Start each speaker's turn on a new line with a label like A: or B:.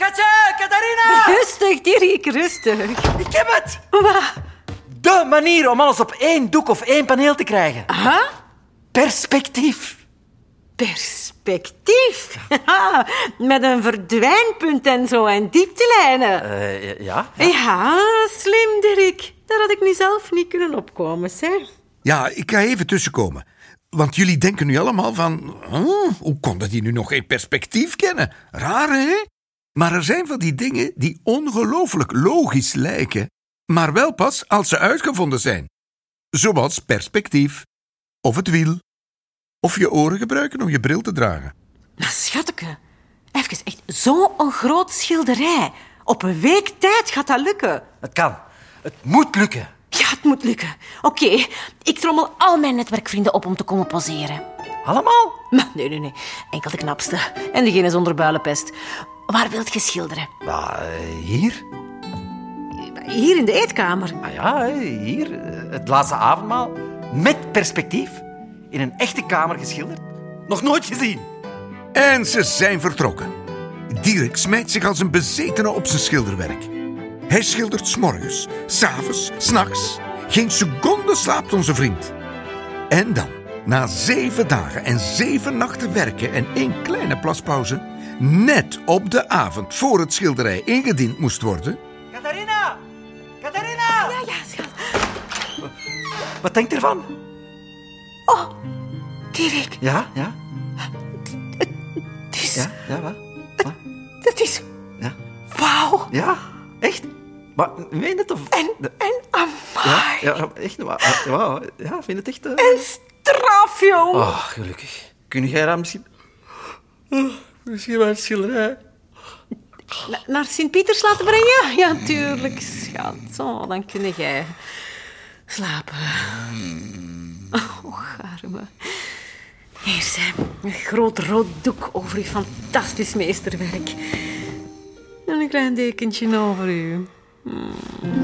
A: Schatje, Katarina!
B: Rustig, Dirk, rustig.
A: Ik heb het!
B: Wat?
A: De manier om alles op één doek of één paneel te krijgen.
B: Huh?
A: Perspectief.
B: Perspectief. Met een verdwijnpunt en zo en dieptelijnen.
A: Eh, ja?
B: Ja, slim, Dirk. Daar had ik nu zelf niet kunnen opkomen, zeg.
C: Ja, ik ga even tussenkomen. Want jullie denken nu allemaal van... "Oh, hoe kon dat die nu nog geen perspectief kennen? Raar, hè? Maar er zijn van die dingen die ongelooflijk logisch lijken... maar wel pas als ze uitgevonden zijn. Zoals perspectief. Of het wiel. Of je oren gebruiken om je bril te dragen.
B: Maar schatke, even echt zo'n groot schilderij. Op een week tijd gaat dat lukken.
A: Het kan. Het moet lukken.
B: Ja, het moet lukken. Oké, ik trommel al mijn netwerkvrienden op om te komen poseren.
A: Allemaal?
B: Maar nee, nee, nee. Enkel de knapste. En degene zonder builenpest. Waar wilt je schilderen?
A: Ja, eh, hier.
B: Hier in de eetkamer.
A: Ah ja, hè, hier. Eh, Het laatste avondmaal. Met perspectief. In een echte kamer geschilderd. Nog nooit gezien.
C: En ze zijn vertrokken. Dirk smijt zich als een bezetene op zijn schilderwerk. Hij schildert s'morgens, s'avonds, s'nachts. Geen seconde slaapt onze vriend. En dan, na zeven dagen en zeven nachten werken en één kleine plaspauze, net op de avond voor het schilderij ingediend moest worden,
A: Katarina! Katarina!
B: Nou Ja, schat.
A: Wat denkt ervan?
B: Oh, Dirk,
A: Ja, ja,
B: het is...
A: ja, ja, wat?
B: Het is...
A: Ja,
B: Wauw.
A: ja, echt? Maar meen het of...
B: En, en
A: Ja,
B: amai.
A: ja, echt, maar, ja, wauw, ja, vind het echt... eh,
B: En straf, joh.
A: Oh, gelukkig. Kun jij daar misschien... Oh, misschien maar schilderij.
B: Na- naar Sint-Pieters laten brengen? Ja, tuurlijk, schat. Zo, dan kun jij slapen.
A: Hmm.
B: Oh, arme. Hier zijn een groot rood doek over uw fantastisch meesterwerk. En een klein dekentje over u.